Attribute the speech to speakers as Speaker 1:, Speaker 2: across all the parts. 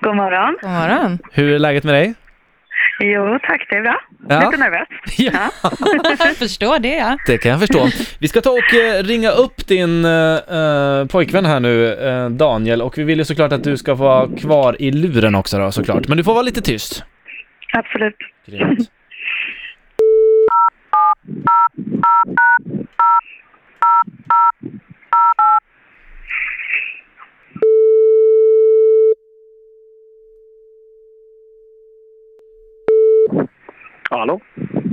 Speaker 1: God morgon.
Speaker 2: God morgon.
Speaker 3: Hur är läget med dig?
Speaker 1: Jo, tack. Det är bra.
Speaker 3: Ja.
Speaker 1: Lite nervös.
Speaker 3: Ja,
Speaker 2: Jag förstår det, ja.
Speaker 3: det kan jag förstå. Vi ska ta och eh, ringa upp din eh, eh, pojkvän här nu, eh, Daniel, och vi vill ju såklart att du ska få vara kvar i luren också då såklart. Men du får vara lite tyst.
Speaker 1: Absolut.
Speaker 3: Grymt.
Speaker 4: Hallå?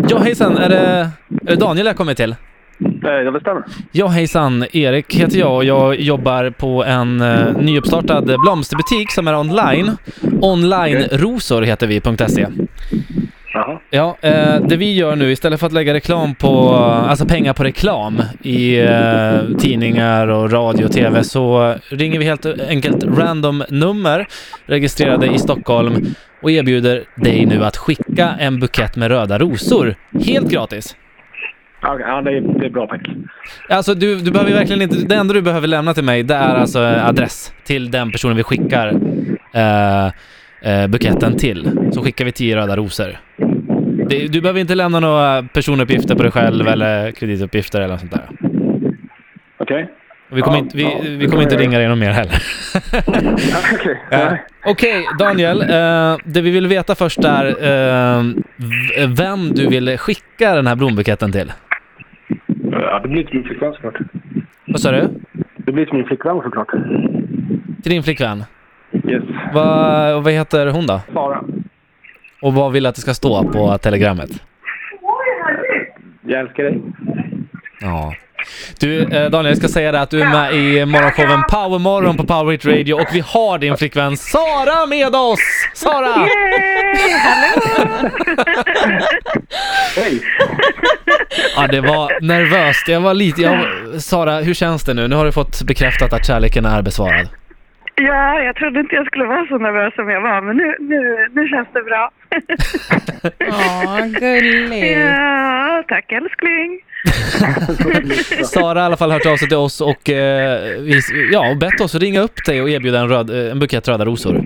Speaker 3: Ja hejsan, är det, är det Daniel jag kommer till?
Speaker 4: Eh, Ja, det stämmer.
Speaker 3: Ja hejsan, Erik heter jag och jag jobbar på en eh, nyuppstartad blomsterbutik som är online. Onlinerosor heter vi, E. .se.
Speaker 4: Jaha.
Speaker 3: Ja, eh, det vi gör nu istället för att lägga reklam på, alltså pengar på reklam i eh, tidningar och radio och tv så ringer vi helt enkelt random nummer registrerade i Stockholm och erbjuder dig nu att skicka en bukett med röda rosor helt gratis.
Speaker 4: Ja, Okej, ja, det, är, det är bra tack.
Speaker 3: Alltså du, du behöver ju verkligen inte, det enda du behöver lämna till mig det är alltså eh, adress till den personen vi skickar eh, eh, buketten till. Så skickar vi tio röda rosor. Det, du behöver inte lämna några personuppgifter på dig själv eller kredituppgifter eller något sånt där.
Speaker 4: Okej.
Speaker 3: Och Vi kommer,
Speaker 4: Ja,
Speaker 3: inte, vi,
Speaker 4: ja, det
Speaker 3: vi kommer
Speaker 4: kan
Speaker 3: inte
Speaker 4: jag
Speaker 3: ringa dig någon mer heller.
Speaker 4: Ja, Okej.
Speaker 3: Eh,
Speaker 4: Nej.
Speaker 3: Okej, Daniel. Eh, det vi vill veta först är eh, v- vem du vill skicka den här blombuketten till.
Speaker 4: Ja, det blir till min flickvän såklart.
Speaker 3: Vad sa du?
Speaker 4: Det blir till min flickvän såklart.
Speaker 3: Till din flickvän.
Speaker 4: Yes.
Speaker 3: Va, och vad heter hon då?
Speaker 4: Sara.
Speaker 3: Och vad vill du att det ska stå på telegrammet?
Speaker 4: Jag älskar dig.
Speaker 3: Ja. Du, eh, Daniel, jag ska säga det att du är med i morgonshowen Powermorgon på Power Hit Radio och vi har din flickvän Sara med oss! Sara!
Speaker 4: Hej!
Speaker 3: Ja, det var nervöst. Jag var lite... Jag, Sara, hur känns det nu? Nu har du fått bekräftat att kärleken är besvarad.
Speaker 1: Ja, jag trodde inte jag skulle vara så nervös som jag var, men nu, nu, nu känns det bra.
Speaker 2: Åh, gulligt.
Speaker 1: ja, tack älskling.
Speaker 3: Sara har i alla fall hört av sig till oss och, eh, vi, ja, och bett oss att ringa upp dig och erbjuda en, röd, eh, en bukett röda rosor.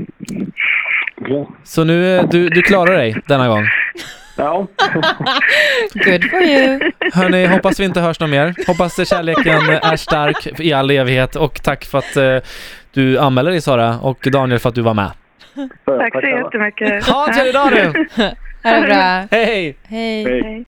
Speaker 4: Okej.
Speaker 3: Så nu, eh, du, du klarar dig denna gång.
Speaker 4: Ja.
Speaker 2: Good for you.
Speaker 3: Hörni, hoppas vi inte hörs någon mer. Hoppas eh, kärleken är stark i all evighet och tack för att eh, du anmälde dig Sara och Daniel för att du var med.
Speaker 1: Tack så
Speaker 4: alla.
Speaker 1: jättemycket.
Speaker 3: Ha en trevlig dag nu!
Speaker 2: Ha det bra.
Speaker 3: Hej!
Speaker 2: Hej.
Speaker 4: Hej.
Speaker 1: Hej.